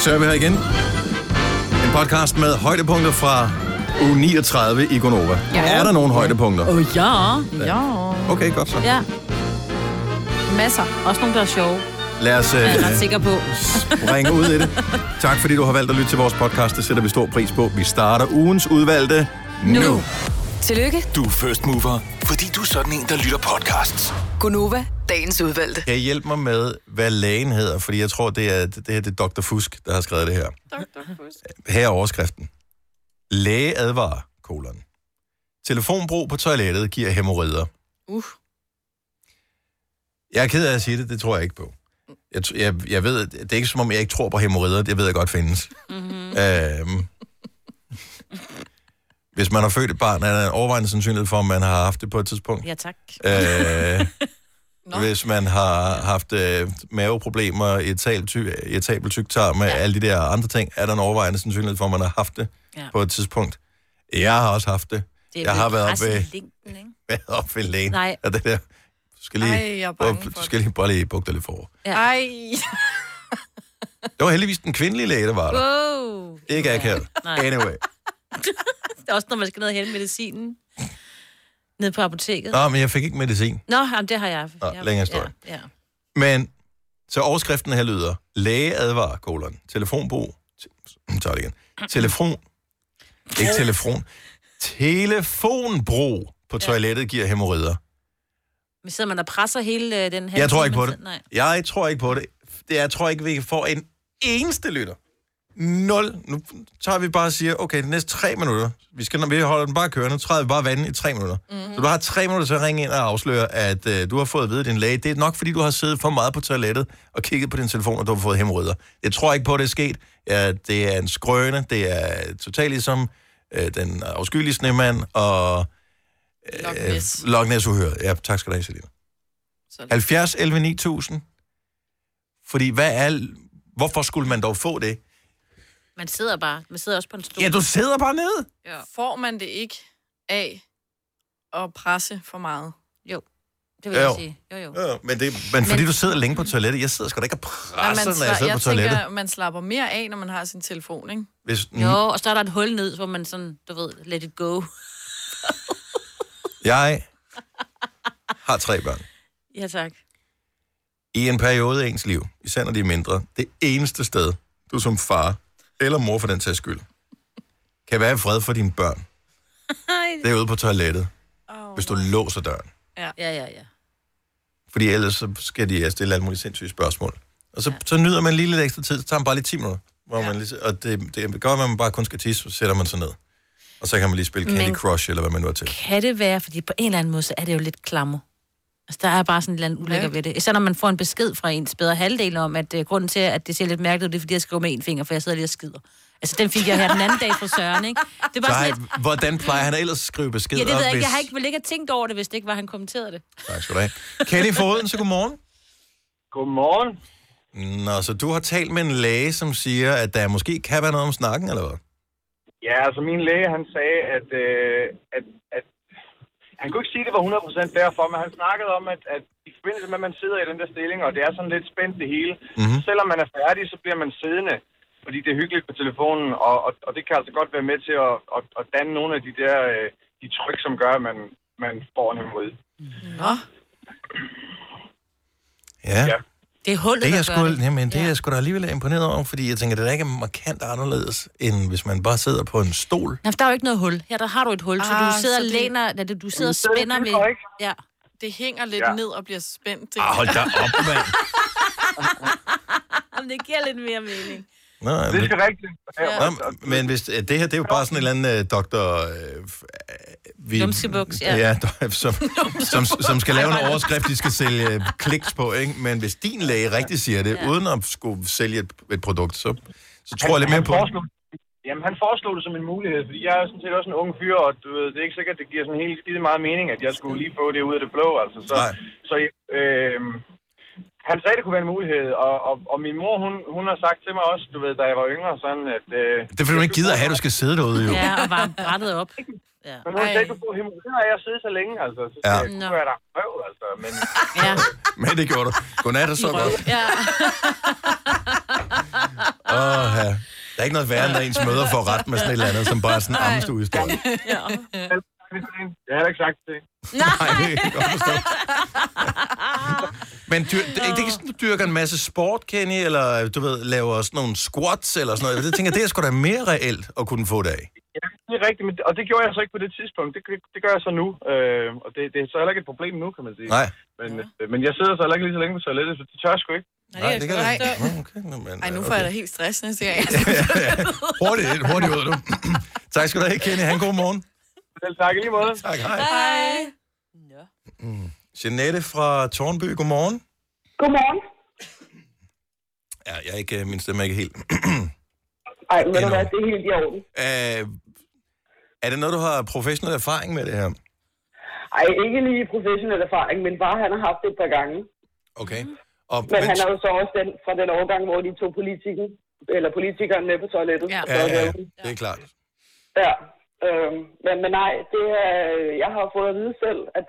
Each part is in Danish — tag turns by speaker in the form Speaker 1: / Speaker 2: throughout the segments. Speaker 1: Så er vi her igen. En podcast med højdepunkter fra uge 39 i Gonova. Ja.
Speaker 2: Ja.
Speaker 1: Er der nogen højdepunkter?
Speaker 2: Åh, oh, ja.
Speaker 3: Ja.
Speaker 1: Okay, godt så.
Speaker 3: Ja. Masser. Også nogle, der er sjove,
Speaker 1: Lad os
Speaker 3: er jeg
Speaker 1: øh,
Speaker 3: ret sikker på.
Speaker 1: ringe ud i det. Tak fordi du har valgt at lytte til vores podcast. Det sætter vi stor pris på. Vi starter ugens udvalgte nu. nu.
Speaker 4: Tillykke,
Speaker 5: Du er first mover, fordi du er sådan en, der lytter podcasts.
Speaker 4: Gunova, dagens udvalgte.
Speaker 1: Kan I hjælpe mig med, hvad lægen hedder? Fordi jeg tror, det er, det, her, det er Dr. Fusk, der har skrevet det her. Her er overskriften. Læge advarer, kolon. Telefonbrug på toilettet giver hemorrider.
Speaker 3: Uh.
Speaker 1: Jeg er ked af at sige det, det tror jeg ikke på. Jeg, t- jeg, jeg ved, det er ikke som om, jeg ikke tror på hemorrider, det ved jeg godt findes. Mm-hmm. Øhm, hvis man har født et barn, er der en overvejende sandsynlighed for, at man har haft det på et tidspunkt.
Speaker 3: Ja, tak.
Speaker 1: Øh, hvis man har haft øh, maveproblemer, irritabel ty, irritabel tyktarm med ja. alle de der andre ting, er der en overvejende sandsynlighed for, at man har haft det ja.
Speaker 3: Ja.
Speaker 1: på et tidspunkt. Jeg har også haft det.
Speaker 3: Det
Speaker 1: Jeg har været
Speaker 3: presset
Speaker 1: ved-
Speaker 3: i Linken, ikke?
Speaker 1: Været op ved lægen.
Speaker 3: Nej.
Speaker 1: Og det der, du skal lige,
Speaker 6: Ej, jeg er bange
Speaker 1: Åh,
Speaker 6: for
Speaker 1: du
Speaker 6: det.
Speaker 1: skal lige bare lige bukke dig lidt for.
Speaker 6: Ej,
Speaker 1: Det var heldigvis den kvindelige læge, der var der.
Speaker 3: Wow.
Speaker 1: Ikke akavet.
Speaker 3: Nej.
Speaker 1: Anyway.
Speaker 3: Det er også, når man skal ned og hente medicinen. Ned på apoteket.
Speaker 1: Nå, men jeg fik ikke medicin.
Speaker 3: Nå, jamen, det har jeg.
Speaker 1: Nå,
Speaker 3: jeg
Speaker 1: længere historie.
Speaker 3: Ja, ja.
Speaker 1: Men, så overskriften her lyder, læge advarer, kolon, telefonbrug, te- tager det igen, telefon, ikke telefon, telefonbrug på toilettet giver hemorrider.
Speaker 3: Men sidder man og presser hele øh, den her...
Speaker 1: Jeg tror ikke på
Speaker 3: man
Speaker 1: det.
Speaker 3: sidder- Nej.
Speaker 1: Jeg tror ikke på det. det jeg tror ikke, vi får en eneste lytter. Nul. Nu tager vi bare og siger, okay, de næste tre minutter, vi, skal, vi holder den bare kørende, træder vi bare vandet i tre minutter. Mm-hmm. Så du har tre minutter til at ringe ind og afsløre, at øh, du har fået at vide af din læge. Det er nok, fordi du har siddet for meget på toilettet og kigget på din telefon, og du har fået hemorrider. Jeg tror ikke på, at det er sket. Ja, det er en skrøne. Det er totalt ligesom øh, den afskyelige snemand og
Speaker 6: Loch
Speaker 1: øh,
Speaker 6: Ness.
Speaker 1: Loch Ness Uhøret. Ja, tak skal du have, Selina.
Speaker 6: Så-
Speaker 1: 70 11 9000. Fordi hvad er... Hvorfor skulle man dog få det?
Speaker 3: Man sidder bare. Man sidder også på en stol.
Speaker 1: Ja, du sidder bare nede.
Speaker 6: får man det ikke af at presse for meget?
Speaker 3: Jo, det vil jeg
Speaker 1: Jo. Mm.
Speaker 3: sige. Jo, jo.
Speaker 1: Ja, men, det, men fordi du sidder længe på toilettet. Jeg sidder sgu da ikke og
Speaker 6: Nej,
Speaker 1: presser,
Speaker 6: man,
Speaker 1: når jeg
Speaker 6: sla-
Speaker 1: sidder på toilettet.
Speaker 6: tænker, man slapper mere af, når man har sin telefon, ikke?
Speaker 1: Hvis, mm,
Speaker 3: Jo, og så er der et hul ned, hvor man sådan, du ved, let it go.
Speaker 1: jeg har tre børn.
Speaker 3: Ja, tak.
Speaker 1: I en periode af ens liv, især når de er mindre, det eneste sted, du som far, eller mor for den sags skyld, kan være i fred for dine børn, det er ude på toilettet, oh, hvis du låser døren.
Speaker 3: Ja, ja, ja.
Speaker 1: Fordi ellers så skal de øh, stille alle mulige sindssyge spørgsmål. Og så, ja. så nyder man lige lidt ekstra tid, så tager man bare lige 10 minutter. Hvor ja. man lige, og det, det gør, at man bare kun skal tisse, så sætter man sig ned. Og så kan man lige spille Candy
Speaker 3: Men-
Speaker 1: Crush, eller hvad man nu er til.
Speaker 3: Kan det være, fordi på en eller anden måde, så er det jo lidt klammer. Altså, der er bare sådan et eller andet ulækker ved det. Især når man får en besked fra ens bedre halvdel om, at uh, grunden til, at det ser lidt mærkeligt ud, det er, fordi jeg skriver med en finger, for jeg sidder lige og skider. Altså, den fik jeg her den anden dag fra Søren, ikke? Det er
Speaker 1: Så
Speaker 3: bare sådan
Speaker 1: har,
Speaker 3: lidt...
Speaker 1: hvordan plejer han ellers at skrive beskeder?
Speaker 3: Ja, det ved jeg
Speaker 1: op,
Speaker 3: ikke. Jeg
Speaker 1: hvis-
Speaker 3: har ikke, ville ikke have tænkt over det, hvis det ikke var, han kommenterede det.
Speaker 1: Tak skal du have. Kenny Foden, så godmorgen.
Speaker 7: Godmorgen.
Speaker 1: Nå, så du har talt med en læge, som siger, at der måske kan være noget om snakken, eller hvad?
Speaker 7: Ja, altså min læge, han sagde, at, øh, at, at han kunne ikke sige, at det var 100% derfor, men han snakkede om, at, at i forbindelse med, at man sidder i den der stilling, og det er sådan lidt spændt det hele, mm-hmm. selvom man er færdig, så bliver man siddende, fordi det er hyggeligt på telefonen, og, og, og det kan altså godt være med til at, at, at danne nogle af de der øh, de tryk, som gør, at man, man får en imod.
Speaker 6: Nå,
Speaker 1: Ja.
Speaker 7: Ja.
Speaker 3: Det er hullet,
Speaker 1: Det er,
Speaker 3: der
Speaker 1: jeg
Speaker 3: gør
Speaker 1: sgu,
Speaker 3: det.
Speaker 1: jamen, det er jeg sgu da alligevel imponeret over, fordi jeg tænker, det er da ikke markant anderledes, end hvis man bare sidder på en stol.
Speaker 3: Nej, for der er jo ikke noget hul. Her der har du et hul, ah, så
Speaker 6: Ah,
Speaker 3: du sidder
Speaker 6: så
Speaker 3: og
Speaker 6: det-
Speaker 3: læner, nej, du sidder og
Speaker 7: så er det
Speaker 3: spænder
Speaker 7: derfor,
Speaker 3: med...
Speaker 7: ikke?
Speaker 3: Ja.
Speaker 6: det hænger lidt
Speaker 7: Ja.
Speaker 6: ja. ned og bliver spændt.
Speaker 1: Ah, hold da op, mand.
Speaker 3: Jamen, det giver lidt mere mening.
Speaker 1: Nå,
Speaker 7: Det
Speaker 1: men,
Speaker 7: er rigtigt. Ja.
Speaker 1: nå, men hvis, øh, det her, det er jo bare sådan en eller anden øh, doktor... Øh, f- øh, vi,
Speaker 3: Lumsebuks, ja.
Speaker 1: ja do- som, som, som skal lave en overskrift, de skal sælge øh, kliks på, ikke? Men hvis din læge rigtig siger det, ja. uden at skulle sælge et, et produkt, så, så tror jeg lidt mere
Speaker 7: han
Speaker 1: på det.
Speaker 7: foreslog, Jamen, han foreslog det som en mulighed, fordi jeg er sådan set også en ung fyr, og du ved, det er ikke sikkert, det giver sådan helt skide meget mening, at jeg skulle lige få det ud af det blå, altså. Så,
Speaker 1: Nej.
Speaker 7: så øh, han sagde, det kunne være en mulighed, og, og, og min mor, hun, hun har sagt til mig også, du ved, da jeg var yngre, sådan at... Øh,
Speaker 1: Det er fordi, du ikke gider at have, at du skal sidde derude, jo.
Speaker 3: Ja, og varme brættet op. Ja.
Speaker 7: Men hun sagde,
Speaker 6: Ej.
Speaker 7: du får hemorrider af at sidde så længe, altså. Så
Speaker 1: Ja.
Speaker 7: ja. det
Speaker 3: Nå.
Speaker 7: kunne være der røv, altså. Men
Speaker 3: ja.
Speaker 1: Men det gjorde du. Godnat og så godt.
Speaker 3: Ja.
Speaker 1: Åh, ja. Der er ikke noget værre, når ens møder får ret med sådan et eller andet, som bare er sådan en ammestuehistorie. Nej,
Speaker 7: Jeg har heller ikke sagt det.
Speaker 1: det kan jeg godt forstå. Men dyr, det, det er ikke sådan, du dyrker en masse sport, Kenny, eller du ved, laver sådan nogle squats eller sådan noget. Jeg tænker, det er sgu da mere reelt at kunne få det af.
Speaker 7: Ja, det er rigtigt, men, og det gjorde jeg så ikke på det tidspunkt. Det, det, det gør jeg så nu, øh, og det, det er så heller ikke et problem nu, kan man sige.
Speaker 1: Nej,
Speaker 7: Men, øh, men jeg sidder så heller ikke lige så længe på toilettet, så det tør jeg sgu ikke.
Speaker 1: nej, det kan jeg
Speaker 6: Nej.
Speaker 1: ikke. Nå, Okay, nå, men,
Speaker 6: Ej, nu
Speaker 1: øh,
Speaker 6: får jeg da helt stress næste gang. jeg "Altså, skal-
Speaker 1: Hurtigt, ind, hurtigt ud, du. tak skal du have, Kenny. Han god morgen.
Speaker 7: Selv tak i lige måde.
Speaker 1: Tak, hej. Hej. Jeanette fra Tornby, godmorgen.
Speaker 2: Godmorgen.
Speaker 1: Ja, jeg er ikke, øh, min stemme er ikke helt.
Speaker 2: Ej, men
Speaker 1: Endnu.
Speaker 2: du hvad, det er helt i orden.
Speaker 1: Øh, er det noget, du har professionel erfaring med det her?
Speaker 2: Ej, ikke lige professionel erfaring, men bare han har haft det et par gange.
Speaker 1: Okay. Og,
Speaker 2: Men han er jo så også den, fra den overgang, hvor de tog politikken, eller politikeren med på toilettet.
Speaker 6: Ja.
Speaker 2: Så,
Speaker 1: ja, ja,
Speaker 2: øh,
Speaker 1: det er klart.
Speaker 2: ja. Øhm, men, men nej, det er, jeg har fået at vide selv, at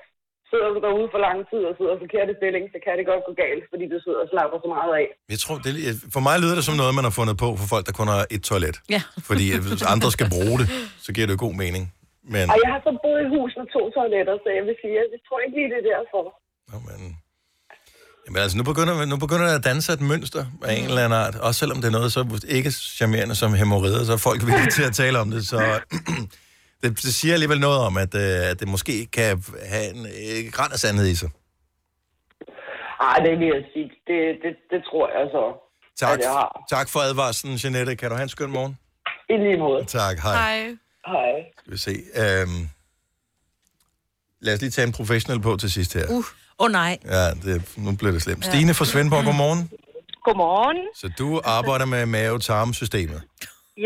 Speaker 2: sidder du derude for lang tid og sidder forkert i stilling, så kan det godt gå galt, fordi du sidder og slapper så meget af.
Speaker 1: Jeg tror, det, er lige- for mig lyder det som noget, man har fundet på for folk, der kun har et toilet.
Speaker 8: Ja.
Speaker 1: Fordi øh, hvis andre skal bruge det, så giver det jo god mening. Men,
Speaker 2: Og jeg har så boet i hus med to toiletter, så jeg vil sige, at jeg tror ikke lige, det er derfor.
Speaker 1: Nå, men, jamen, altså, nu begynder, nu begynder der at danse et mønster af en eller anden art. Også selvom det er noget så ikke charmerende som hemorrider, så er folk villige til at tale om det. Så det, det siger alligevel noget om, at, øh, at det måske kan have en øh, græn af sandhed i sig.
Speaker 2: Ej, det vil jeg sige. Det, det, det tror jeg så.
Speaker 1: Tak,
Speaker 2: Ja, det har.
Speaker 1: tak for advarslen, Jeanette. Kan du have en skøn morgen?
Speaker 2: I lige måde.
Speaker 1: Tak, hej.
Speaker 6: Hej.
Speaker 2: Hej.
Speaker 1: Skal vi se. Øhm, lad os lige tage en professionel på til sidst her. Uh.
Speaker 8: Åh oh, nej.
Speaker 1: Ja, det, nu bliver det slemt. Stine fra Svendborg, godmorgen.
Speaker 9: Godmorgen.
Speaker 1: Så du arbejder med mave-tarmsystemet.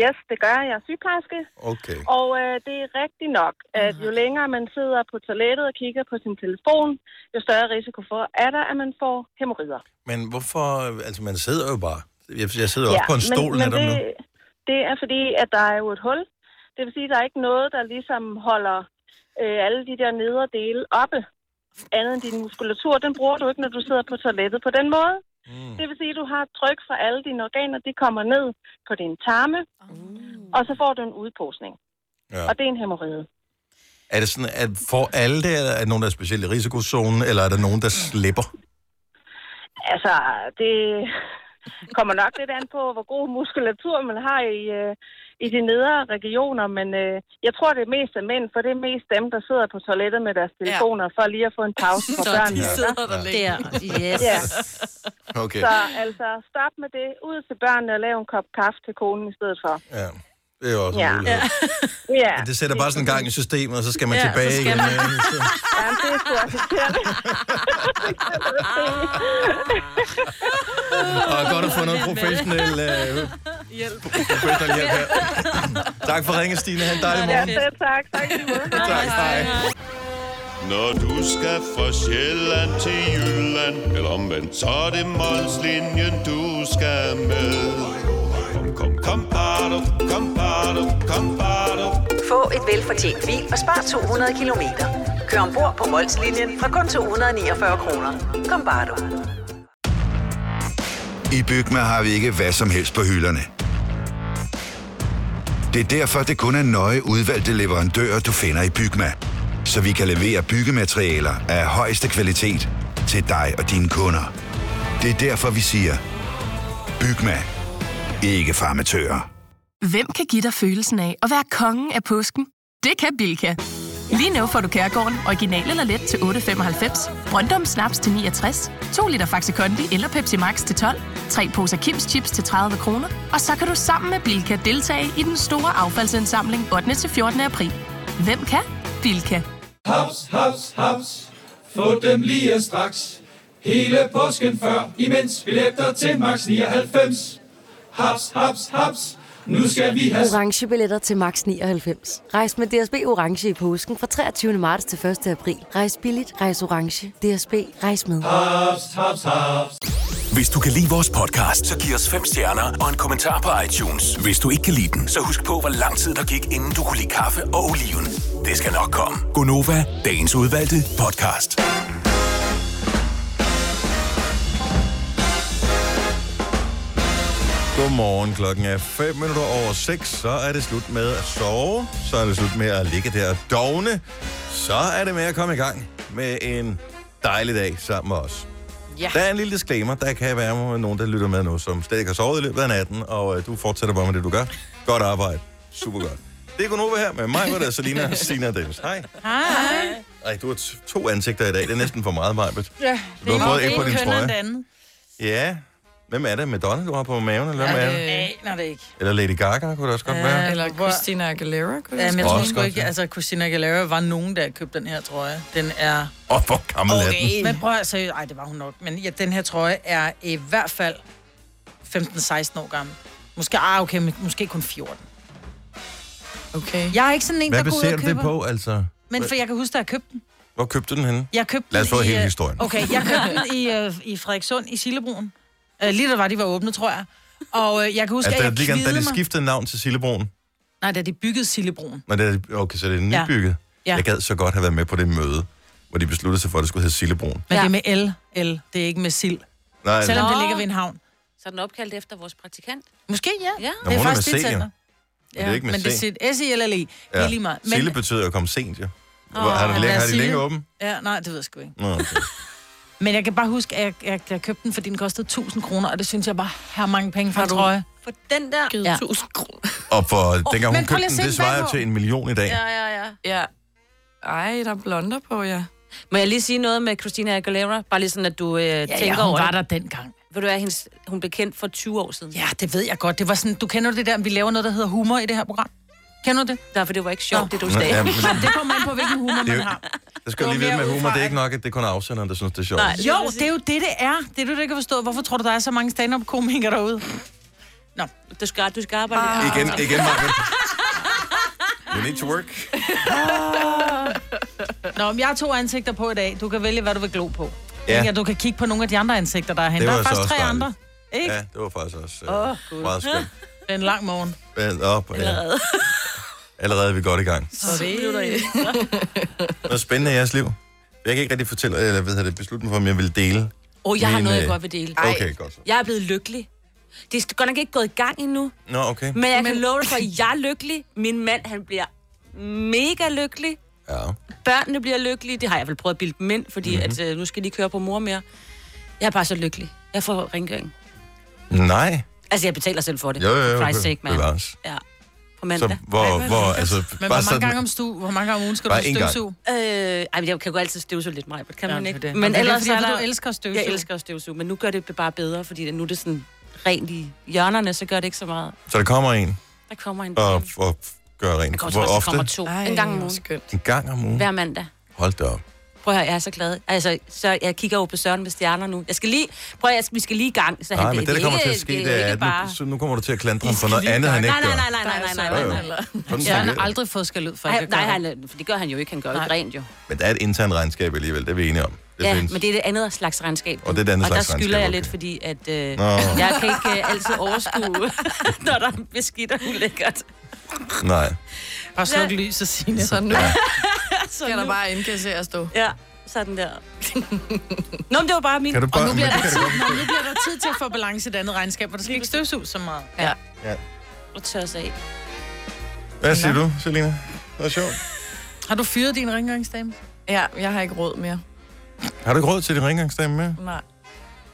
Speaker 9: Yes, det gør jeg. Jeg er sygeplejerske.
Speaker 1: Okay.
Speaker 9: Og øh, det er rigtigt nok, at jo længere man sidder på toilettet og kigger på sin telefon, jo større risiko for, er der, at man får hæmorider.
Speaker 1: Men hvorfor... Altså, man sidder jo bare. Jeg, jeg sidder jo også på en stol
Speaker 9: men,
Speaker 1: netop
Speaker 9: men
Speaker 1: nu.
Speaker 9: det, det er fordi, at der er jo et hul. Det vil sige, at der er ikke noget, der ligesom holder øh, alle de der nedre dele oppe. Andet end din muskulatur, den bruger du ikke, når du sidder på toilettet på den måde. Mm. Det vil sige, at du har et tryk fra alle dine organer, de kommer ned på din tarme, og så får du en udposning.
Speaker 1: Ja.
Speaker 9: Og det er en hemorrhide.
Speaker 1: Er det sådan, at for alle det, eller er der nogen, der er specielt i risikozonen, eller er der nogen, der slipper?
Speaker 9: Altså, det kommer nok lidt an på, hvor god muskulatur man har i, øh, i de nedre regioner, men øh, jeg tror, det er mest af mænd, for det er mest dem, der sidder på toilettet med deres telefoner, for lige at få en pause fra
Speaker 6: Så de
Speaker 9: børnene.
Speaker 6: sidder der længe.
Speaker 8: Der. Yes.
Speaker 9: Ja,
Speaker 1: Okay.
Speaker 9: så altså, stop med det. Ud til børnene og lav en kop kaffe til konen i stedet for.
Speaker 1: Ja. Det er jo også en
Speaker 9: Ja.
Speaker 1: mulighed.
Speaker 9: Ja,
Speaker 1: Det sætter bare sådan en gang i systemet, og så skal man
Speaker 8: Ja, så
Speaker 1: tilbage
Speaker 8: skal
Speaker 1: igen.
Speaker 8: man.
Speaker 1: ja, så-
Speaker 9: ja det er sgu også irriterende.
Speaker 1: Og godt at få noget professionel øh, hjælp. Professionel hjælp her. tak for ringen, Stine. Ha' en dejlig
Speaker 9: Ja,
Speaker 1: morgen.
Speaker 9: selv tak. Tak i lige måde.
Speaker 1: Tak, hej.
Speaker 10: Når du skal fra Sjælland til Jylland Eller omvendt, så er det Molslinjen, du skal med Kom, kom, kom, bado, kom, bado, kom, bado.
Speaker 11: Få et velfortjent bil og spar 200 kilometer. Kør ombord på Molslinjen fra kun 249 kroner. Kom bare du.
Speaker 5: I Bygma har vi ikke hvad som helst på hylderne. Det er derfor, det kun er nøje udvalgte leverandører, du finder i Bygma. Så vi kan levere byggematerialer af højeste kvalitet til dig og dine kunder. Det er derfor, vi siger, Bygma. Ikke farmatører.
Speaker 12: Hvem kan give dig følelsen af at være kongen af påsken? Det kan Bilka! Lige nu får du Kærgården original eller let til 8.95, Brøndum Snaps til 69, 2 liter Faxi Kondi eller Pepsi Max til 12, 3 poser Kims Chips til 30 kroner, og så kan du sammen med Bilka deltage i den store affaldsindsamling 8. til 14. april. Hvem kan? Bilka.
Speaker 10: Haps, haps, haps. Få dem lige straks. Hele påsken før, imens billetter til max 99. Haps, haps, haps. Nu skal vi have
Speaker 3: Orange billetter til max 99. Rejs med DSB Orange i påsken fra 23. marts til 1. april. Rejs billigt, rejs orange. DSB, rejs med.
Speaker 5: Hvis du kan lide vores podcast, så giv os fem stjerner og en kommentar på iTunes. Hvis du ikke kan lide den, så husk på, hvor lang tid der gik, inden du kunne lide kaffe og oliven. Det skal nok komme. Gonova, dagens udvalgte podcast.
Speaker 1: Godmorgen, klokken er 5 minutter over 6, så er det slut med at sove, så er det slut med at ligge der og dogne, så er det med at komme i gang med en dejlig dag sammen med os.
Speaker 6: Ja.
Speaker 1: Der er en lille disclaimer, der kan være nogen, der lytter med nu, som stadig har sovet i løbet af natten, og øh, du fortsætter bare med det, du gør. Godt arbejde. Super godt. Det er Gunova her med mig, hvor der er Selina, Sina og Dennis. Hej.
Speaker 13: Hej.
Speaker 1: Ej, du har t- to ansigter i dag. Det er næsten for meget, Majbet.
Speaker 13: Ja,
Speaker 1: Du har fået et på din
Speaker 13: køn og
Speaker 1: trøje.
Speaker 13: det andet.
Speaker 1: Ja. Hvem er det? Madonna, du har på maven? Eller, hvem er
Speaker 13: Jeg
Speaker 1: det?
Speaker 13: aner det ikke.
Speaker 1: eller Lady Gaga kunne det også godt være.
Speaker 13: Ja, eller Christina Aguilera. Kunne ja, men jeg
Speaker 1: også
Speaker 13: tror
Speaker 1: godt
Speaker 13: sgu ikke, altså Christina Aguilera var nogen, der købte den her trøje. Den er...
Speaker 1: Åh, oh, hvor gammel okay. er den?
Speaker 13: Men prøv at seriøst, ej, det var hun nok. Men ja, den her trøje er i hvert fald 15-16 år gammel. Måske, ah, okay, men måske kun 14. Okay. Jeg er ikke sådan en,
Speaker 1: Hvad
Speaker 13: der går ud
Speaker 1: baserer
Speaker 13: og
Speaker 1: du det
Speaker 13: køber.
Speaker 1: på, altså?
Speaker 13: Men for jeg kan huske, da jeg købte den.
Speaker 1: Hvor købte du den henne?
Speaker 13: Jeg købte
Speaker 1: Lad os
Speaker 13: den
Speaker 1: få
Speaker 13: i,
Speaker 1: hele
Speaker 13: øh,
Speaker 1: historien.
Speaker 13: Okay, jeg købte den i, øh, i Frederikssund i Sillebroen. Øh, lige da var de var åbne, tror jeg. Og øh, jeg kan huske,
Speaker 1: Altså,
Speaker 13: at,
Speaker 1: der,
Speaker 13: jeg
Speaker 1: ligger,
Speaker 13: kvidede
Speaker 1: da de
Speaker 13: mig.
Speaker 1: skiftede navn til Sillebroen.
Speaker 13: Nej, da de byggede Sillebroen.
Speaker 1: Nå, det er, okay, så det er
Speaker 13: Ja.
Speaker 1: nybygget.
Speaker 13: Ja.
Speaker 1: Jeg gad så godt have været med på det møde, hvor de besluttede sig for, at det skulle hedde Sillebroen.
Speaker 13: Men ja. det er med L. L. Det er ikke med sild.
Speaker 1: Nej,
Speaker 13: Selvom
Speaker 1: nej.
Speaker 13: det ligger ved en havn.
Speaker 3: Så er den opkaldt efter vores praktikant?
Speaker 13: Måske ja.
Speaker 3: ja.
Speaker 1: Nå, hun er med
Speaker 13: det,
Speaker 1: C,
Speaker 13: tænder.
Speaker 1: Men det er ikke med
Speaker 13: men
Speaker 1: C.
Speaker 13: det er S-I-L-L-E. Det er lige meget.
Speaker 1: Men... Sille betyder jo at komme sent, jo.
Speaker 13: Åh,
Speaker 1: Oh, har,
Speaker 13: at
Speaker 1: de længe,
Speaker 13: være
Speaker 1: har de længe
Speaker 13: silde.
Speaker 1: åben?
Speaker 13: Ja, nej, det ved jeg sgu ikke.
Speaker 1: Nå, okay.
Speaker 13: Men jeg kan bare huske, at jeg, jeg, jeg købte den, fordi den kostede 1000 kroner, og det synes jeg bare har mange penge for en trøje. For den der? Ja. 1000 kroner.
Speaker 1: Og for
Speaker 13: Åh,
Speaker 1: oh, dengang hun
Speaker 13: men prøv lige
Speaker 1: købte
Speaker 13: at
Speaker 1: den,
Speaker 13: se
Speaker 1: det
Speaker 13: den
Speaker 1: svarer jo
Speaker 13: bagpå.
Speaker 1: til en million i dag. Ja.
Speaker 6: Ja, ja, ja. ja. Ej, der er blonder på, ja.
Speaker 3: Må jeg lige sige noget med Christina Aguilera? Bare lige sådan, at du øh, ja, tænker
Speaker 13: ja, hun
Speaker 3: over
Speaker 13: var
Speaker 3: det.
Speaker 13: der dengang.
Speaker 3: Ved du hvad, hendes, hun blev kendt for 20 år siden.
Speaker 13: Ja, det ved jeg godt. Det var sådan, du kender det der, vi laver noget, der hedder humor i det her program. Kender du det?
Speaker 3: Nej, for det var ikke sjovt, det du
Speaker 1: Nå, sagde. ja, men-
Speaker 13: det kommer an på, hvilken humor
Speaker 1: Det er
Speaker 13: man
Speaker 1: jo-
Speaker 13: har.
Speaker 1: Der skal jo lige vide med humor, det er ikke nok, at det kun er afsenderen, der synes, det er sjovt.
Speaker 13: Nej, jo, det er jo det, det er. Det er det, du ikke kan forstå. Hvorfor tror du, der er så mange stand-up-komikere derude? Nå,
Speaker 3: du skal, du skal arbejde. Ah.
Speaker 1: Igen, igen, Marvind. You need to work.
Speaker 13: Nå, men jeg har to ansigter på i dag. Du kan vælge, hvad du vil glo på.
Speaker 1: Ja.
Speaker 13: Ja. Ikke? Og du kan kigge på nogle af de andre ansigter, der er
Speaker 1: Det
Speaker 13: henne.
Speaker 1: var
Speaker 13: Der er
Speaker 1: så
Speaker 13: faktisk
Speaker 1: også
Speaker 13: tre
Speaker 1: dejligt.
Speaker 13: andre. Ikke?
Speaker 1: Ja, det var faktisk også
Speaker 13: Åh,
Speaker 1: øh, oh, meget skønt.
Speaker 13: Det er en lang morgen.
Speaker 1: Men op, ja.
Speaker 13: Allerede.
Speaker 1: Allerede er vi godt i gang.
Speaker 13: Så det
Speaker 1: Noget spændende i jeres liv. Jeg kan ikke rigtig fortælle, eller ved jeg det, beslutte mig for, om jeg vil dele.
Speaker 3: Åh, oh, jeg har
Speaker 1: Men,
Speaker 3: noget, jeg
Speaker 1: øh,
Speaker 3: godt vil dele.
Speaker 1: Okay, godt så.
Speaker 3: Jeg er blevet lykkelig. Det er godt nok ikke gået i gang endnu,
Speaker 1: Nå, okay.
Speaker 3: men jeg men... kan love dig for, at jeg er lykkelig. Min mand, han bliver mega lykkelig.
Speaker 1: Ja.
Speaker 3: Børnene bliver lykkelige. Det har jeg vel prøvet at bilde dem ind, fordi
Speaker 1: Mhm.
Speaker 3: mm-hmm. at, øh, nu skal de køre på mor mere. Jeg er bare så lykkelig. Jeg får rengøring.
Speaker 1: Nej.
Speaker 3: Altså, jeg betaler selv for det.
Speaker 1: Jo, jo, jo,
Speaker 3: For Christ's
Speaker 1: be-
Speaker 3: sake, man.
Speaker 1: bevares.
Speaker 3: Ja. På mandag.
Speaker 1: Så hvor- Ej, hvor hvor- lækkert. altså,
Speaker 13: Men
Speaker 1: bare
Speaker 13: hvor mange,
Speaker 1: sådan-
Speaker 13: gange om stu, hvor mange gange om ugen skal
Speaker 1: Bare
Speaker 13: du
Speaker 1: én gang.
Speaker 13: støvsuge?
Speaker 3: Øh, ej, men jeg kan jo altid støvsuge lidt mig, men kan
Speaker 13: Ja,
Speaker 3: man
Speaker 13: det er
Speaker 3: ikke?
Speaker 13: det. Men det er fordi,
Speaker 3: der-
Speaker 13: du elsker at støvsuge.
Speaker 3: Jeg elsker at støvsuge, men nu gør det bare bedre, fordi nu er det sådan rent i hjørnerne, så gør det ikke så meget.
Speaker 1: Så der kommer en
Speaker 3: Der kommer en
Speaker 1: og, og gør rent.
Speaker 3: Mm. Jeg kommer
Speaker 1: Hvor
Speaker 3: også, der
Speaker 1: ofte?
Speaker 3: kommer to. Ej, en gang om ugen.
Speaker 1: En gang om ugen.
Speaker 3: Hver mandag.
Speaker 1: Hold da op.
Speaker 3: Prøv at høre, jeg er så glad. Altså, så jeg kigger jo på Søren med stjerner nu. Jeg skal lige... Prøv at jeg skal, vi skal lige i gang. Så
Speaker 1: Nej,
Speaker 3: han,
Speaker 1: men det, der kommer til at ske, det er,
Speaker 3: ikke
Speaker 1: at
Speaker 3: bare...
Speaker 1: nu, så nu kommer du til at klandre ham for noget andet, han ikke
Speaker 3: nej,
Speaker 1: gør.
Speaker 3: nej, nej, nej, nej, nej, nej,
Speaker 1: Jo, jo.
Speaker 3: nej, nej.
Speaker 1: Sådan
Speaker 3: Ja,
Speaker 1: fungerer det.
Speaker 13: aldrig fået skal ud for
Speaker 3: nej, nej, han, for det gør han jo ikke. Han gør jo ikke rent, jo.
Speaker 1: Men der er et internt regnskab alligevel, det er vi enige om. Det
Speaker 3: ja,
Speaker 1: findes.
Speaker 3: men det er det andet slags regnskab.
Speaker 1: Og det er det andet
Speaker 3: og
Speaker 1: slags
Speaker 3: der skylder
Speaker 1: regnskab,
Speaker 3: jeg
Speaker 1: okay.
Speaker 3: lidt, fordi at, øh,
Speaker 1: Nå.
Speaker 3: jeg kan ikke øh, altid overskue, når der er beskidt og ulækkert.
Speaker 1: Nej.
Speaker 13: Bare sluk lyset, Signe.
Speaker 6: Så nu
Speaker 3: så
Speaker 6: kan
Speaker 3: nu.
Speaker 6: der bare indkassere stå.
Speaker 3: Ja, sådan der. Nå, men det var bare min...
Speaker 1: Kan du bare-
Speaker 13: og nu bliver,
Speaker 1: men
Speaker 13: der
Speaker 1: det
Speaker 13: tid,
Speaker 1: kan jeg godt
Speaker 13: nej, nu bliver der tid til at få balance i det andet regnskab, hvor der skal ikke støvsuges så meget.
Speaker 6: Ja.
Speaker 1: Ja.
Speaker 3: Og tør sig af.
Speaker 1: Hvad siger du, Selina? Det var sjovt.
Speaker 13: Har du fyret din rengøringsdame?
Speaker 6: Ja, jeg har ikke råd mere.
Speaker 1: Har du ikke råd til din ringgangsdame med?
Speaker 6: Nej.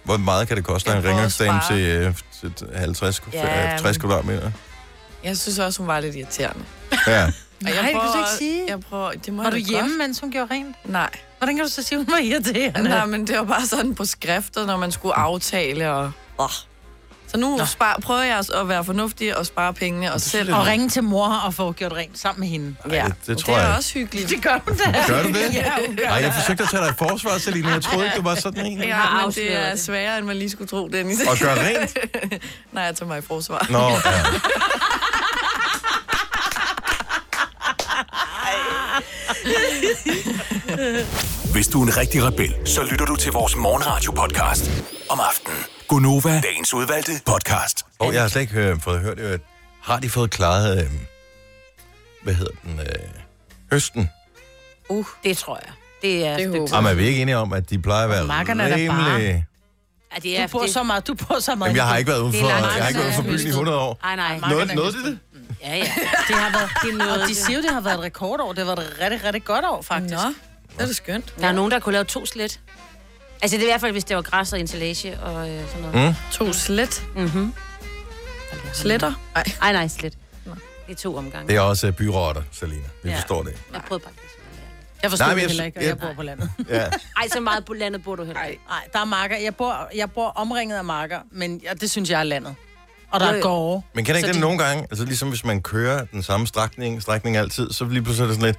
Speaker 1: Hvor meget kan det koste dig en ringgangsdame til, øh, til 50,
Speaker 6: Ja,
Speaker 1: ja, 60
Speaker 6: men-
Speaker 1: kvadratmeter?
Speaker 6: Jeg synes også, hun var lidt irriterende.
Speaker 1: Ja.
Speaker 6: Og jeg
Speaker 13: Nej, det kan du så
Speaker 6: prøver-
Speaker 13: ikke sige.
Speaker 6: Jeg prøver, det må
Speaker 13: Var
Speaker 6: jeg
Speaker 13: du
Speaker 6: da
Speaker 13: hjemme,
Speaker 6: godt.
Speaker 13: mens hun gjorde rent?
Speaker 6: Nej.
Speaker 13: Hvordan kan du så sige, hun var irriterende?
Speaker 6: Nej, men det var bare sådan på skrifter, når man skulle aftale og... Oh. Så nu spar, prøver jeg også at være fornuftig og spare pengene og selv.
Speaker 13: Og ringe til mor og få gjort rent sammen med hende.
Speaker 6: Ja.
Speaker 1: det- det tror
Speaker 6: det er
Speaker 1: jeg
Speaker 6: også hyggeligt.
Speaker 13: Det gør hun da.
Speaker 1: Gør du det?
Speaker 13: Ja, hun gør
Speaker 1: Ej, jeg
Speaker 13: det.
Speaker 1: forsøgte at tage dig i forsvar, Selina. Jeg troede ikke, du var sådan en.
Speaker 6: Ja, men det er sværere, end man lige skulle tro, Dennis.
Speaker 1: Og gør rent?
Speaker 6: Nej, jeg tager mig i forsvar.
Speaker 1: Nå, ja.
Speaker 14: Hvis du er en rigtig rebel, så lytter du til vores morgenradio-podcast om aftenen. Gunova, dagens udvalgte podcast.
Speaker 1: Og jeg har slet ikke øh, fået hørt, øh, har de fået klaret, øh, hvad hedder den, øh, høsten?
Speaker 3: Uh, det tror jeg. Det er... Det
Speaker 1: Jamen, er vi ikke enige om, at de plejer at være
Speaker 3: Markerne er da
Speaker 1: rimelig...
Speaker 3: Ja, det er,
Speaker 13: du bor
Speaker 3: det-
Speaker 13: så meget, du bor så meget.
Speaker 1: Jamen, jeg har ikke været
Speaker 13: Det er
Speaker 1: udenfor,
Speaker 13: langt.
Speaker 1: jeg har ikke været udenfor byen i 100 år.
Speaker 3: Nej, nej.
Speaker 1: Noget, noget det?
Speaker 3: Ja, ja. Det har været, det er noget,
Speaker 13: Og de siger jo, det har været et rekordår. Det har været et rigtig, rigtig godt år, faktisk. Nå, det er det skønt.
Speaker 3: Der er nogen, der kunne lave to slet. Altså, det er i hvert fald, hvis det var græs og ensilage og øh, sådan noget.
Speaker 6: Mm. To slet.
Speaker 3: Mm-hmm.
Speaker 6: Sletter?
Speaker 3: Nej. Nej, nej, slet. Det er to omgange.
Speaker 1: Det er også øh, byrotter, Selina. Vi
Speaker 3: Ja.
Speaker 1: forstår det.
Speaker 3: Jeg prøvede bare
Speaker 13: Jeg forstår
Speaker 1: Nej,
Speaker 13: Nej, det
Speaker 1: men jeg-
Speaker 13: heller ikke, og
Speaker 1: jeg-
Speaker 13: jeg bor på landet.
Speaker 1: Ja.
Speaker 13: Ej, så meget på landet bor du heller ikke. Nej, der er marker. Jeg bor, jeg bor omringet af marker, men jeg, det synes jeg er landet. Og der
Speaker 1: Jo,
Speaker 13: er
Speaker 1: jo.
Speaker 13: gårde.
Speaker 1: Men kan ikke
Speaker 13: Så
Speaker 1: det
Speaker 13: de-
Speaker 1: nogle gange, altså ligesom hvis man kører den samme strækning, strækning altid, så lige pludselig er det sådan lidt,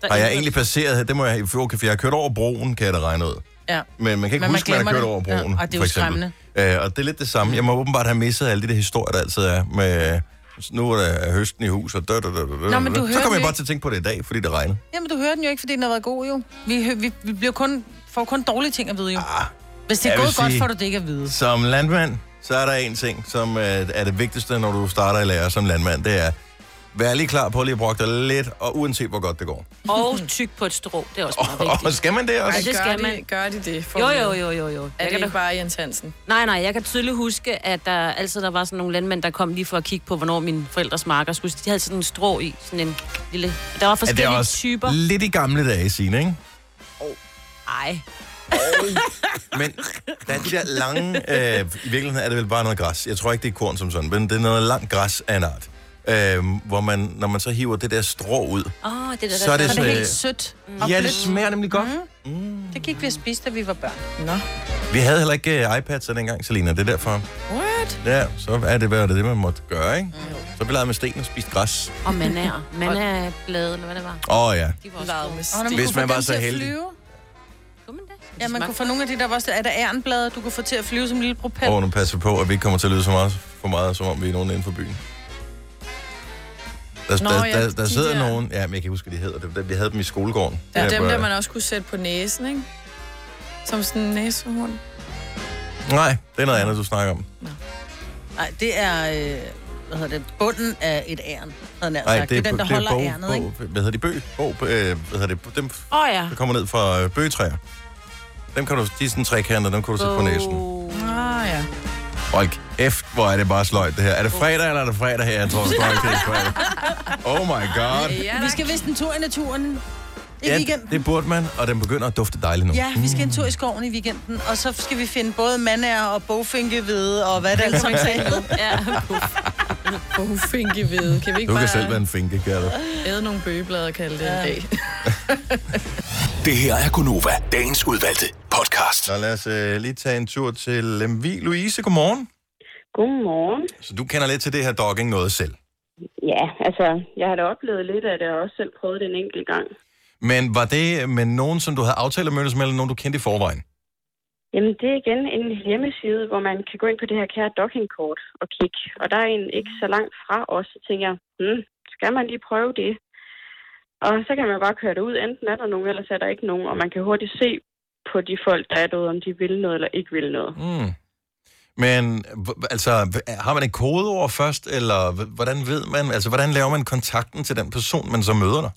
Speaker 13: Der
Speaker 1: har jeg
Speaker 13: er-
Speaker 1: egentlig passeret her? Det må jeg, okay, for jeg har kørt over broen, kan jeg da regne ud.
Speaker 13: Ja.
Speaker 1: Men man kan ikke
Speaker 13: Men man
Speaker 1: huske, man har
Speaker 13: glemmer
Speaker 1: kørt
Speaker 13: det.
Speaker 1: over broen,
Speaker 13: Ja, og det er
Speaker 1: for
Speaker 13: jo
Speaker 1: eksempel. Øh, og det er lidt det samme. Jeg må åbenbart have misset alle de der historier, der altid er med, øh, nu er der høsten i hus, og dø, dø, dø, dø, dø,
Speaker 13: Nå, men
Speaker 1: dø.
Speaker 13: du
Speaker 1: Så
Speaker 13: hører
Speaker 1: kommer jeg
Speaker 13: jo
Speaker 1: bare til at tænke på det i dag, fordi det regner.
Speaker 13: Jamen, du hører den jo ikke, fordi den har været god, jo. Vi, hø- vi, vi bliver kun, får kun dårlige ting at vide, jo. Ah, Hvis det er
Speaker 1: jeg vil
Speaker 13: gået godt,
Speaker 1: sige-
Speaker 13: får du det ikke at vide.
Speaker 1: Som landmand, så er der en ting, som øh, er det vigtigste, når du starter i lære som landmand, det er, vær lige klar på at lige bruge dig lidt, og uanset hvor godt det går.
Speaker 3: Og tyk på et strå, det er også meget vigtigt.
Speaker 1: Og skal man det også?
Speaker 3: Ej, det skal man.
Speaker 6: De, gør de det? For
Speaker 3: Jo,
Speaker 6: mig?
Speaker 3: jo, jo, jo, jo. Jeg
Speaker 6: Er det
Speaker 3: kan da-
Speaker 6: ikke bare Jens Hansen?
Speaker 3: Nej, nej, jeg kan tydeligt huske, at der altid der var sådan nogle landmænd, der kom lige for at kigge på, hvornår mine forældres marker skulle. De havde sådan en strå i, sådan en lille... Der var
Speaker 1: Er det
Speaker 3: forskellige
Speaker 1: også
Speaker 3: typer.
Speaker 1: lidt i gamle dage, Signe, ikke?
Speaker 3: Ej.
Speaker 1: Men der er de der lange... Øh, I virkeligheden er det vel bare noget græs. Jeg tror ikke, det er korn som sådan, men det er noget langt græs af en art. Øh, hvor man, når man så hiver det der strå ud...
Speaker 13: Åh, oh, det
Speaker 1: der- Så er det
Speaker 13: så
Speaker 1: så-
Speaker 13: det helt sødt.
Speaker 1: Ja, det smager nemlig godt.
Speaker 13: Mm. Mm. Det gik vi at spise, da vi var børn. Nå.
Speaker 1: Vi havde heller ikke øh, iPads så dengang, Selina. Det er derfor.
Speaker 13: What?
Speaker 1: Ja, så er det, hvad det, det man måtte gøre, ikke? Så vi legede med sten og spiste græs.
Speaker 3: Og manær. Manærblade, eller hvad det var.
Speaker 1: Åh oh, ja.
Speaker 3: De var også
Speaker 13: Hvis,
Speaker 3: gode.
Speaker 1: Hvis man var så heldig.
Speaker 13: Ja, man kunne få nogle af de der var også... Er der ærenblade, du kunne få til at flyve som en lille propel?
Speaker 1: Og nu passer vi på, at vi ikke kommer til at lyde så meget, for meget, som om vi er nogen inden for byen. Der,
Speaker 6: Nå,
Speaker 1: der,
Speaker 6: ja,
Speaker 1: der, der
Speaker 6: de
Speaker 1: sidder
Speaker 6: der-
Speaker 1: nogen... Ja, men jeg kan ikke huske, hvad de hedder. Det, var- vi havde dem i skolegården.
Speaker 6: Det er
Speaker 1: Ja,
Speaker 6: dem,
Speaker 1: på-
Speaker 6: der man også kunne sætte på næsen, ikke? Som sådan en næsehund.
Speaker 1: Nej, det er noget andet, du snakker om.
Speaker 13: Nej, det er... Øh, hvad hedder det? Bunden af et æren. havde jeg nær
Speaker 1: Nej,
Speaker 13: sagt. det, er den, der
Speaker 1: det
Speaker 13: holder
Speaker 1: bog-
Speaker 13: ærenet, ikke?
Speaker 1: bog- Hvad hedder de? Bøg? Bog, øh, hvad hedder det? Dem,
Speaker 3: Åh oh, ja.
Speaker 1: der kommer ned fra øh, bøgetræer. Dem kan du, de er sådan trekantede, dem kan du sætte på næsen.
Speaker 13: Ah, ja.
Speaker 1: Hold kæft, hvor er det bare sløjt det her. Er det fredag, eller er det fredag her? Jeg tror, det er fredag. Oh my god.
Speaker 13: vi skal vist en tur i naturen i
Speaker 1: Ja,
Speaker 13: weekenden.
Speaker 1: det burde man, og den begynder at dufte dejligt nu.
Speaker 13: Ja, vi skal en tur i skoven i weekenden, og så skal vi finde både mandær og bogfinkevede og hvad det alt sammen sagde.
Speaker 3: ja,
Speaker 6: Bogfinkevede. Kan vi ikke
Speaker 1: Du kan
Speaker 6: bare
Speaker 1: selv være en finke, kan du?
Speaker 6: æde nogle bøgeblade og kalde det en dag?
Speaker 14: Det her er Gunova, dagens udvalgte podcast.
Speaker 1: Så lad os øh, lige tage en tur til Lemvi. Louise, godmorgen.
Speaker 9: Godmorgen.
Speaker 1: Så du kender lidt til det her dogging noget selv.
Speaker 9: Ja, altså, jeg har da oplevet lidt af det, og også selv prøvet det en enkelt gang.
Speaker 1: Men var det med nogen, som du havde aftalt at mødes med, eller nogen, du kendte i forvejen?
Speaker 9: Jamen, det er igen en hjemmeside, hvor man kan gå ind på det her kære dockingkort og kigge. Og der er en ikke så langt fra os, så tænker jeg, hmm, skal man lige prøve det? Og så kan man bare køre det ud. Enten er der nogen, ellers er der ikke nogen. Og man kan hurtigt se på de folk, der er derude, om de vil noget eller ikke vil noget.
Speaker 1: Mm. Men h- altså, h- har man et kodeord først, eller h- hvordan ved man, altså hvordan laver man kontakten til den person, man så møder dig?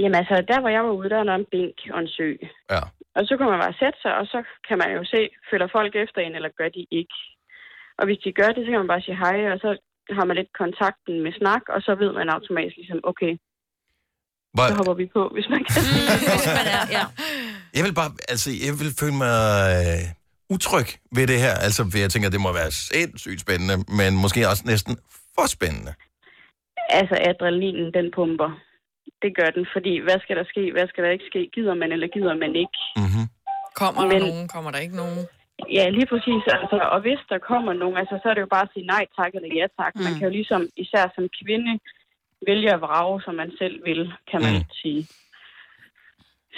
Speaker 9: Jamen altså, der hvor jeg var ude, der er en bænk og en sø.
Speaker 1: Ja.
Speaker 9: Og så kan man bare sætte sig, og så kan man jo se, følger folk efter en, eller gør de ikke. Og hvis de gør det, så kan man bare sige hej, og så har man lidt kontakten med snak, og så ved man automatisk ligesom, okay,
Speaker 1: Hvor-
Speaker 9: så hopper vi på, hvis man kan.
Speaker 1: Jeg vil bare, altså jeg vil føle mig øh, utryg ved det her, altså for jeg tænker, det må være sindssygt spændende, men måske også næsten for spændende.
Speaker 9: altså, adrenalinen, den pumper. Det gør den, fordi hvad skal der ske, hvad skal der ikke ske? Gider man, eller gider man ikke?
Speaker 1: Mm-hmm.
Speaker 6: Kommer der
Speaker 9: Men-
Speaker 6: nogen? Kommer der ikke nogen?
Speaker 9: Ja, lige præcis. Altså, og hvis der kommer nogen, altså, så er det jo bare at sige nej tak eller ja tak. Man
Speaker 6: Mm.
Speaker 9: kan jo ligesom, især som kvinde, vælge at vrage, som man selv vil, kan man mm. sige.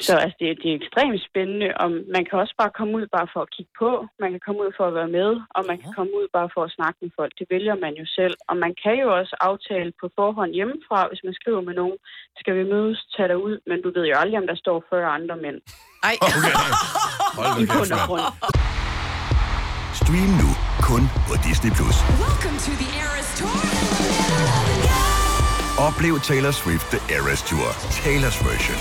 Speaker 9: Så altså, det, det er ekstremt spændende, og man kan også bare komme ud bare for at kigge på, man kan komme ud for at være med, og man kan komme ud bare for at snakke med folk. Det vælger man jo selv. Og man kan jo også aftale på forhånd hjemmefra, hvis man skriver med nogen, skal vi mødes, tag dig ud, men du ved jo aldrig, om der står 40 andre mænd.
Speaker 6: Ej.
Speaker 1: Okay. Hold
Speaker 9: I bund og grund.
Speaker 5: Stream nu kun på Disney+. Plus. Oplev Taylor Swift The Eras Tour, Taylor's version.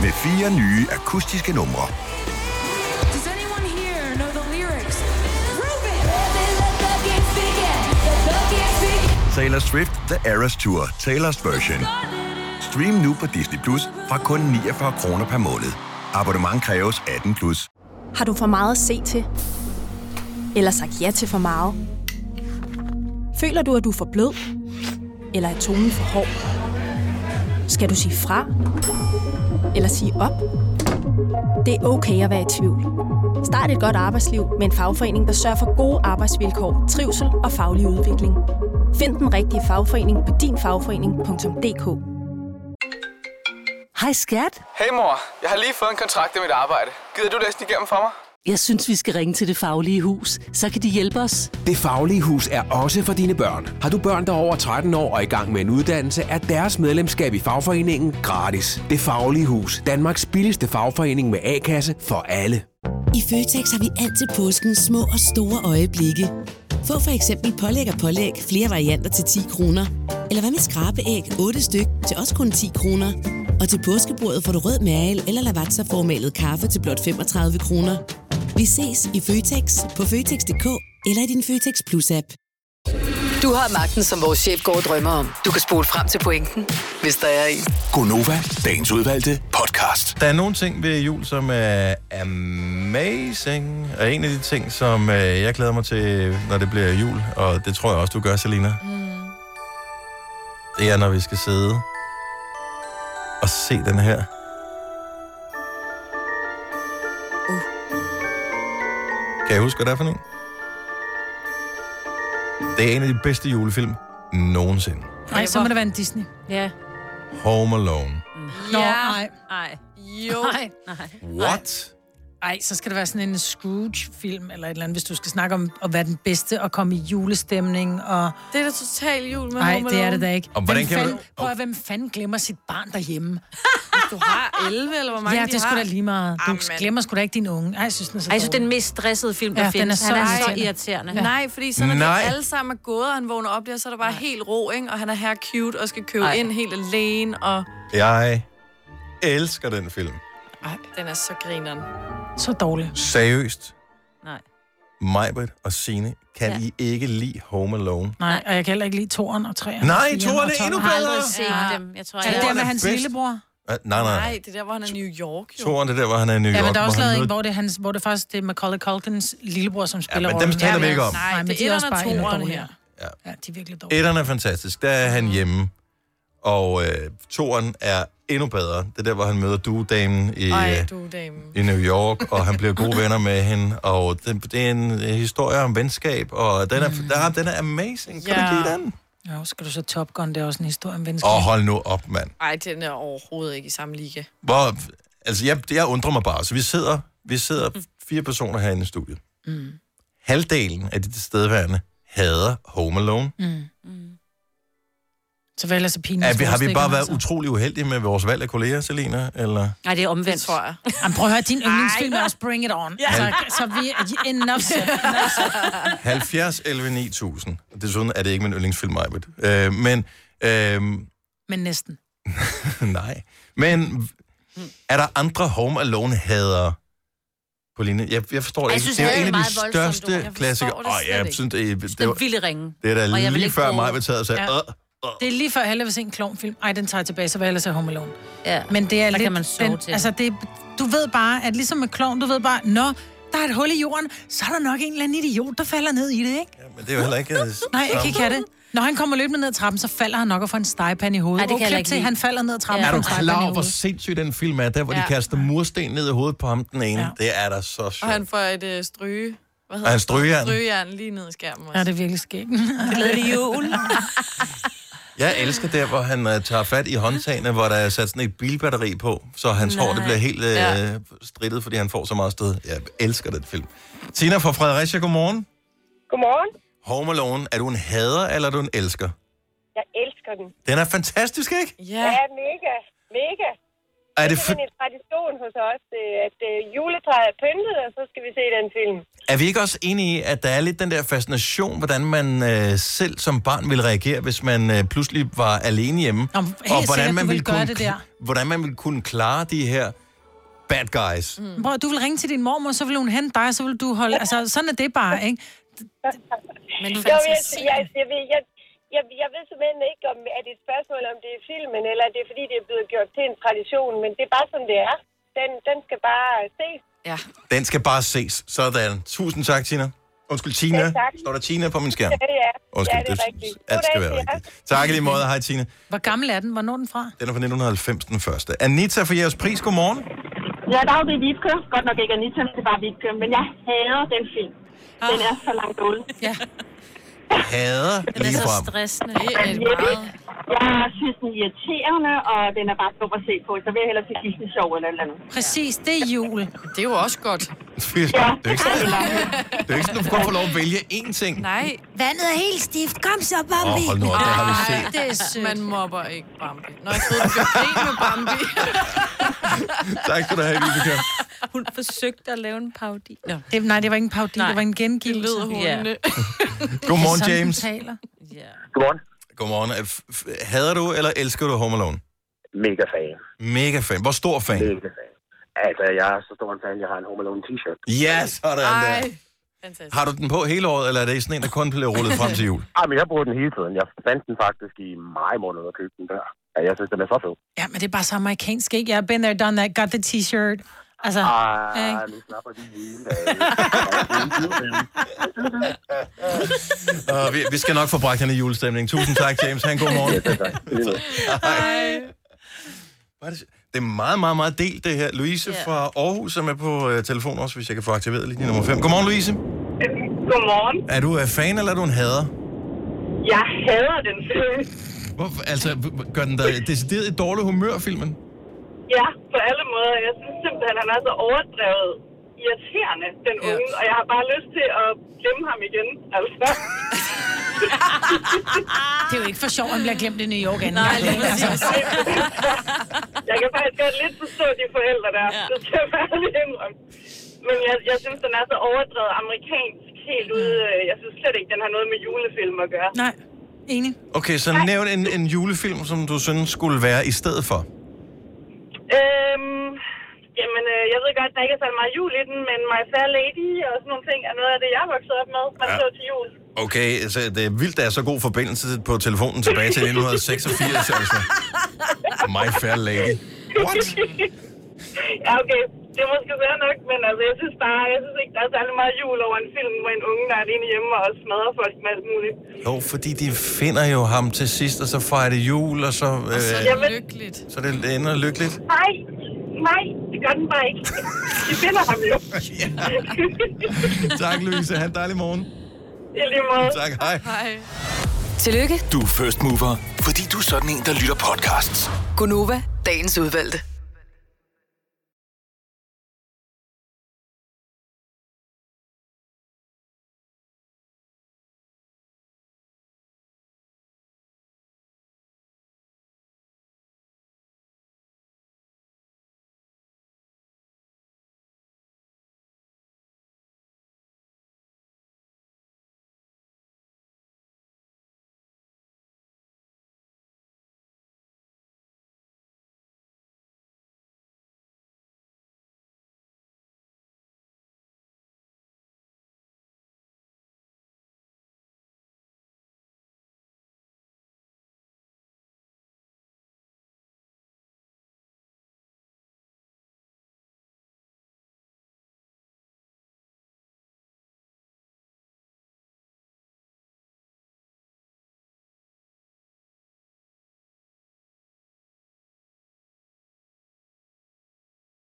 Speaker 5: Med fire nye akustiske numre.
Speaker 15: Taylor Swift The Eras Tour, Taylor's version. Stream nu på Disney Plus fra kun 49 kroner per måned. Abonnement kræves 18 plus.
Speaker 16: Har du for meget at se til? Eller sagt ja til for meget? Føler du, at du er for blød? Eller er tonen for hård? Skal du sige fra? Eller sige op? Det er okay at være i tvivl. Start et godt arbejdsliv med en fagforening, der sørger for gode arbejdsvilkår, trivsel og faglig udvikling. Find den rigtige fagforening på dinfagforening.dk
Speaker 17: Hej skat.
Speaker 7: Hey mor, jeg har lige fået en kontrakt med mit arbejde. Gider du læse den igennem for mig?
Speaker 17: Jeg synes, vi skal ringe til Det Faglige Hus. Så kan de hjælpe os.
Speaker 5: Det Faglige Hus er også for dine børn. Har du børn, der er over 13 år og i gang med en uddannelse, er deres medlemskab i fagforeningen gratis. Det Faglige Hus. Danmarks billigste fagforening med A-kasse for alle.
Speaker 3: I Føtex har vi alt til påsken små og store øjeblikke. Få for eksempel pålæg og pålæg flere varianter til 10 kroner. Eller hvad med skrabeæg 8 styk til også kun 10 kroner. Og til påskebordet får du rød mal eller lavatserformalet kaffe til blot 35 kroner. Vi ses i Føtex på Føtex.dk eller i din Føtex Plus-app.
Speaker 18: Du har magten, som vores chef går og drømmer om. Du kan spole frem til pointen, hvis der er en.
Speaker 19: Gonova, dagens udvalgte podcast.
Speaker 1: Der er nogle ting ved jul, som er amazing. Og en af de ting, som øh, jeg glæder mig til, når det bliver jul, og det tror jeg også, du gør, Selina, mm. det er, når vi skal sidde og se den her. Kan jeg huske, hvad det er for en? Det er en af de bedste julefilm nogensinde.
Speaker 20: Nej, så må det være en Disney. Ja.
Speaker 1: Home Alone.
Speaker 20: Nå, nej.
Speaker 2: Nej.
Speaker 20: Jo. Nej, nej.
Speaker 1: What?
Speaker 20: Ej, så skal det være sådan en Scrooge-film eller et eller andet, hvis du skal snakke om at være den bedste og komme i julestemning. Og...
Speaker 6: Det er da total jul med
Speaker 20: Nej,
Speaker 6: Home
Speaker 20: det er
Speaker 6: Alone.
Speaker 20: det da ikke.
Speaker 1: Og hvordan
Speaker 20: Hvem
Speaker 1: kan man-
Speaker 20: fanden, Prøv at, hvem fanden glemmer sit barn derhjemme?
Speaker 6: Hvis du har 11, Ah, eller hvor mange
Speaker 20: ja,
Speaker 6: de
Speaker 20: det er sgu
Speaker 6: har.
Speaker 20: da lige meget. Du
Speaker 6: Amen.
Speaker 20: glemmer sgu da ikke din unge. Ej, jeg synes, den er så
Speaker 2: Ej, jeg synes, det er den
Speaker 20: dårlig.
Speaker 2: mest stressede film, der
Speaker 20: Ja, den
Speaker 2: findes.
Speaker 20: er så irriterende. Ja.
Speaker 6: Nej, fordi så når
Speaker 20: Nej.
Speaker 6: de alle sammen er gået, og han vågner op der, så er der bare helt ro, ikke? Og han er her cute og skal købe
Speaker 1: Ej.
Speaker 6: ind helt alene, og
Speaker 1: Jeg elsker den film.
Speaker 6: den er så grineren.
Speaker 20: Så dårlig.
Speaker 1: Seriøst.
Speaker 2: Nej.
Speaker 1: Majbrit og Sine, kan ja. I ikke lide Home Alone?
Speaker 20: Nej, og jeg kan heller ikke lide toren og træerne.
Speaker 1: Nej,
Speaker 20: og fireren
Speaker 1: toeren er
Speaker 20: og tolveren.
Speaker 1: endnu
Speaker 20: Jeg har
Speaker 1: bedre.
Speaker 20: aldrig set
Speaker 2: Ja.
Speaker 20: dem. Jeg tror,
Speaker 2: Er
Speaker 20: jeg
Speaker 2: det
Speaker 20: er
Speaker 2: der
Speaker 20: det med
Speaker 2: med
Speaker 20: hans
Speaker 2: hans
Speaker 20: lillebror?
Speaker 1: Ah, Nej, nej. nej.
Speaker 20: det er der, hvor han er New York.
Speaker 1: Toren, det er der, hvor han er i New York.
Speaker 20: Ja, men der er
Speaker 1: hvor
Speaker 20: også
Speaker 1: han
Speaker 20: lavet en,
Speaker 1: møder-
Speaker 20: hvor det, er hans, hvor det faktisk det er Macaulay Culkins lillebror, som spiller
Speaker 1: men dem
Speaker 20: rollen.
Speaker 1: taler vi ikke om.
Speaker 20: Nej, men
Speaker 6: det
Speaker 20: de er
Speaker 6: er
Speaker 20: også bare
Speaker 6: etteren
Speaker 20: endnu
Speaker 6: og toeren
Speaker 20: dårligere.
Speaker 1: Ja.
Speaker 20: ja, de er virkelig dårlige.
Speaker 1: Etteren er fantastisk. Der er
Speaker 20: Mm.
Speaker 1: han hjemme. Og øh, toren er endnu bedre. Det er der, hvor han møder duedamen i,
Speaker 6: Ej,
Speaker 1: øh,
Speaker 6: du dame.
Speaker 1: i New York, og han bliver gode venner med hende. Og det, det er en øh, historie om venskab, og den er,
Speaker 20: Mm.
Speaker 1: der, den er amazing. Kan ja. du ikke lide den?
Speaker 20: Ja, skal du så Top Gun, det er også en historie om venskab.
Speaker 1: Og hold nu op, mand.
Speaker 6: Ej, den er overhovedet ikke i samme liga.
Speaker 1: Hvor, altså, jeg, jeg undrer mig bare. Så vi sidder, vi sidder
Speaker 20: Mm.
Speaker 1: fire personer herinde i studiet.
Speaker 6: Mm.
Speaker 1: Halvdelen af de tilstedeværende hader Home Alone.
Speaker 20: Mm. Så vel altså pinligt.
Speaker 1: Er vi, har vi bare været utrolig uheldige med vores valg af kolleger, Selina? Eller?
Speaker 20: Nej, det er omvendt. Det tror jeg. Jamen, prøv at høre, din yndlingsfilm er også Bring It On. Ja. Så, så vi er enough said. enough said.
Speaker 1: 70, 11, 9000. Desuden er det ikke min yndlingsfilm, Majbet. Øh, men, øh,
Speaker 20: Men næsten.
Speaker 1: nej. Men er der andre Home Alone-hadere på linje? Jeg, jeg forstår det
Speaker 2: Ej, jeg
Speaker 1: ikke.
Speaker 2: synes,
Speaker 1: det er
Speaker 2: hadet
Speaker 1: jo en
Speaker 2: er
Speaker 1: af de
Speaker 2: meget voldsomt ord. Jeg
Speaker 1: største
Speaker 2: forstår
Speaker 1: klassikere.
Speaker 2: det
Speaker 1: Åh, jeg
Speaker 2: slet ikke.
Speaker 1: synes, det, det, det,
Speaker 2: Den
Speaker 1: var-
Speaker 2: ville ringe.
Speaker 1: det er da
Speaker 2: Og jeg vil
Speaker 1: lige
Speaker 2: ikke
Speaker 1: før
Speaker 2: bruge-
Speaker 1: Majbet sad og sagde, "Øh."
Speaker 20: Ja.
Speaker 1: ja.
Speaker 20: Det er lige før, jeg vil se en klovnfilm. Ej, den tager jeg tilbage, så vil jeg ellers have Home Alone.
Speaker 2: Ja.
Speaker 20: Men det er
Speaker 2: Der
Speaker 20: lidt...
Speaker 2: kan man sove
Speaker 20: den,
Speaker 2: til.
Speaker 20: Altså, det, er- du ved bare, at ligesom med klovn, du ved bare, når der er et hul i jorden, så er der nok en eller anden idiot, der falder ned i det, ikke?
Speaker 1: men det er jo heller ikke...
Speaker 20: Nej, jeg kan ikke have det. Når han kommer løbende ned ad trappen, så falder han nok og får en stegepande i hovedet.
Speaker 2: Ej, det kan jeg
Speaker 20: klip
Speaker 2: heller ikke
Speaker 20: til,
Speaker 2: lide.
Speaker 20: han falder ned ad trappen.
Speaker 1: Ja.
Speaker 20: og får
Speaker 1: Er du
Speaker 20: en stegepande i
Speaker 1: klar over, hvor
Speaker 20: hovedet.
Speaker 1: sindssyg den film er, der hvor de
Speaker 6: Ja.
Speaker 1: kaster mursten ned i hovedet på ham, den ene? Det er da så sjovt.
Speaker 6: Og han får et øh, stryge... Hvad
Speaker 1: Og en strygejern.
Speaker 6: Strygejern lige ned i skærmen også.
Speaker 20: Ja, det er virkelig skægt.
Speaker 6: Glædelig jul.
Speaker 1: Jeg elsker der, hvor han uh, tager fat i håndtagene, hvor der er sat sådan et bilbatteri på, så hans Nej. hår det bliver helt uh,
Speaker 9: Ja.
Speaker 1: ja. strittet, fordi han får så meget stød. Jeg elsker den film. Tina fra Fredericia, godmorgen.
Speaker 9: Godmorgen.
Speaker 1: Home Alone, er du en hader, eller er du en elsker?
Speaker 9: Jeg elsker den.
Speaker 1: Den er fantastisk, ikke?
Speaker 9: Ja, ja mega. Mega.
Speaker 1: Er det
Speaker 9: er
Speaker 1: f-
Speaker 9: sådan en tradition hos os, øh, at øh, juletræet er pyntet, og så skal vi se den film.
Speaker 1: Er vi ikke også enige i, at der er lidt den der fascination, hvordan man øh, selv som barn ville reagere, hvis man øh, pludselig var alene hjemme?
Speaker 20: Nå, helt sikkert, du ville gøre
Speaker 1: kunne,
Speaker 20: det der.
Speaker 1: kl- hvordan man ville kunne klare de her bad guys. Mm.
Speaker 20: Mm. Bror, du vil ringe til din mormor, så vil hun hente dig, så vil du holde... Altså, sådan er det bare, ikke?
Speaker 9: Men jo, jeg, jeg, jeg, jeg, jeg,
Speaker 21: jeg, jeg ved simpelthen ikke, om er det et spørgsmål, om det er filmen, eller er det er, fordi det er blevet gjort til en tradition, men det er bare sådan, det er. Den, den skal bare ses.
Speaker 6: Ja.
Speaker 1: Den skal bare ses. Sådan. Tusind tak, Tina. Undskyld, Tina.
Speaker 21: Ja, tak.
Speaker 1: Står der Tina på min
Speaker 21: Ja,
Speaker 1: skærm?
Speaker 21: det er.
Speaker 1: Undskyld,
Speaker 21: ja, det er
Speaker 1: det-
Speaker 21: rigtigt.
Speaker 1: Alt skal
Speaker 21: Goddag
Speaker 1: være
Speaker 21: til jer.
Speaker 1: rigtigt. Tak i lige måde. Hej, Tina.
Speaker 3: Hvor gammel er den? Hvornår er den fra?
Speaker 1: Den er fra 1990, den første. Anita for jeres pris. Godmorgen.
Speaker 9: Ja, der er jo det Vibke. Godt nok ikke Anita, men det er bare Vibke. Men jeg hader den film. Den er så langt ude.
Speaker 3: Ja.
Speaker 1: Hader lige frem.
Speaker 9: stressende. Jeg synes, den er irriterende, og den er bare dum at se på. Så vil jeg hellere til Disney Show eller et eller andet.
Speaker 3: Præcis, det er jul.
Speaker 6: Det er jo også godt.
Speaker 1: Det er jo ikke sådan, det er jo ikke sådan, du kun får lov at vælge én ting.
Speaker 6: Nej.
Speaker 22: Vandet er helt stift. Kom så,
Speaker 1: Bambi. Åh, hold nu op, det har vi set.
Speaker 6: det er sødt. Man mobber ikke Bambi. Når jeg troede, du gjorde grin med Bambi.
Speaker 1: Tak skal du have, Vibeke.
Speaker 23: Hun forsøgte at lave en parodi. Ja.
Speaker 3: Det, nej, det var ikke en parodi, det var en gengivelse. Det lød
Speaker 23: hundene.
Speaker 1: Godmorgen,
Speaker 3: Sådan, den
Speaker 1: James.
Speaker 3: taler.
Speaker 1: Godmorgen. Godmorgen. Er f- f- Hader du eller elsker du Home Alone?
Speaker 7: Mega fan.
Speaker 1: Mega fan. Hvor stor fan?
Speaker 7: Mega fan. Altså, jeg er så stor en fan, jeg har en Home Alone t-shirt.
Speaker 1: Ja, sådan der.
Speaker 6: Fantastisk.
Speaker 1: Har du den på hele året, eller er det sådan en, der kun bliver rullet frem til jul?
Speaker 7: Ej, Ah, men jeg bruger den hele tiden. Jeg fandt den faktisk i maj måned og købte den der. Ja, jeg synes, den er så fed.
Speaker 3: Ja, men det er bare så amerikansk, ikke? Jeg har been there, done that, got the t-shirt. Altså,
Speaker 7: Ej,
Speaker 3: ikke?
Speaker 7: nu snapper de hele.
Speaker 1: Uh, vi, vi skal nok få bragt hende i julestemning. Tusind tak, James. Han god morgen. Hej. Hvor er det s- Det er meget, meget, meget delt, det her. Louise fra Aarhus er med på øh, telefon også, hvis jeg kan få aktiveret lige nummer 5. Godmorgen, Louise.
Speaker 9: Godmorgen.
Speaker 1: Er du øh, fan, eller er du en hader?
Speaker 9: Jeg hader den film.
Speaker 1: Hvor, altså, h- h- gør den dig decideret i dårlig humør, filmen?
Speaker 9: Ja, på alle måder. Jeg synes simpelthen, han er så overdrevet irriterende, den unge. Og jeg har bare lyst til at glemme ham igen, altså.
Speaker 3: Det er jo ikke for sjovt, at man bliver glemt i New York anden.
Speaker 9: Nej,
Speaker 3: gang,
Speaker 9: lige
Speaker 3: ikke? Altså,
Speaker 9: jeg kan faktisk godt lidt forstå de forældre der. Ja. Det skal jeg bare lige indrømme. Men jeg, jeg synes, den er så overdrevet amerikansk helt ude. øh, Jeg synes slet ikke, den har noget med julefilm at gøre.
Speaker 3: Nej, enig.
Speaker 1: Okay, så nævn en, en julefilm, som du synes skulle være i stedet for.
Speaker 9: Øhm, jamen, øh, jeg ved godt, der ikke er så meget jul i den, men My Fair Lady og sådan nogle ting er noget af det, jeg er vokset op med, man
Speaker 1: Ja.
Speaker 9: ja. så til jul.
Speaker 1: Okay, så det er vildt, der er så god forbindelse på telefonen tilbage til 1986, altså. My fair lady. What?
Speaker 9: ja, okay. Det er måske fair nok, men altså, jeg synes bare, jeg synes ikke, der er særlig meget jul over en film, hvor en unge, der er alene hjemme og smadrer folk med alt muligt.
Speaker 1: Jo, fordi de finder jo ham til sidst, og så fejrer det jul, og så... Øh,
Speaker 9: så er det Jamen. lykkeligt.
Speaker 1: Så det ender lykkeligt.
Speaker 9: Nej, nej, det gør den bare ikke. De finder ham jo.
Speaker 1: tak, Louise. Ha' en dejlig morgen.
Speaker 9: I lige måde.
Speaker 1: Tak, hej.
Speaker 9: Hej.
Speaker 24: Tillykke.
Speaker 5: Du er first mover, fordi du er sådan en, der lytter podcasts.
Speaker 24: Gunova, dagens udvalgte.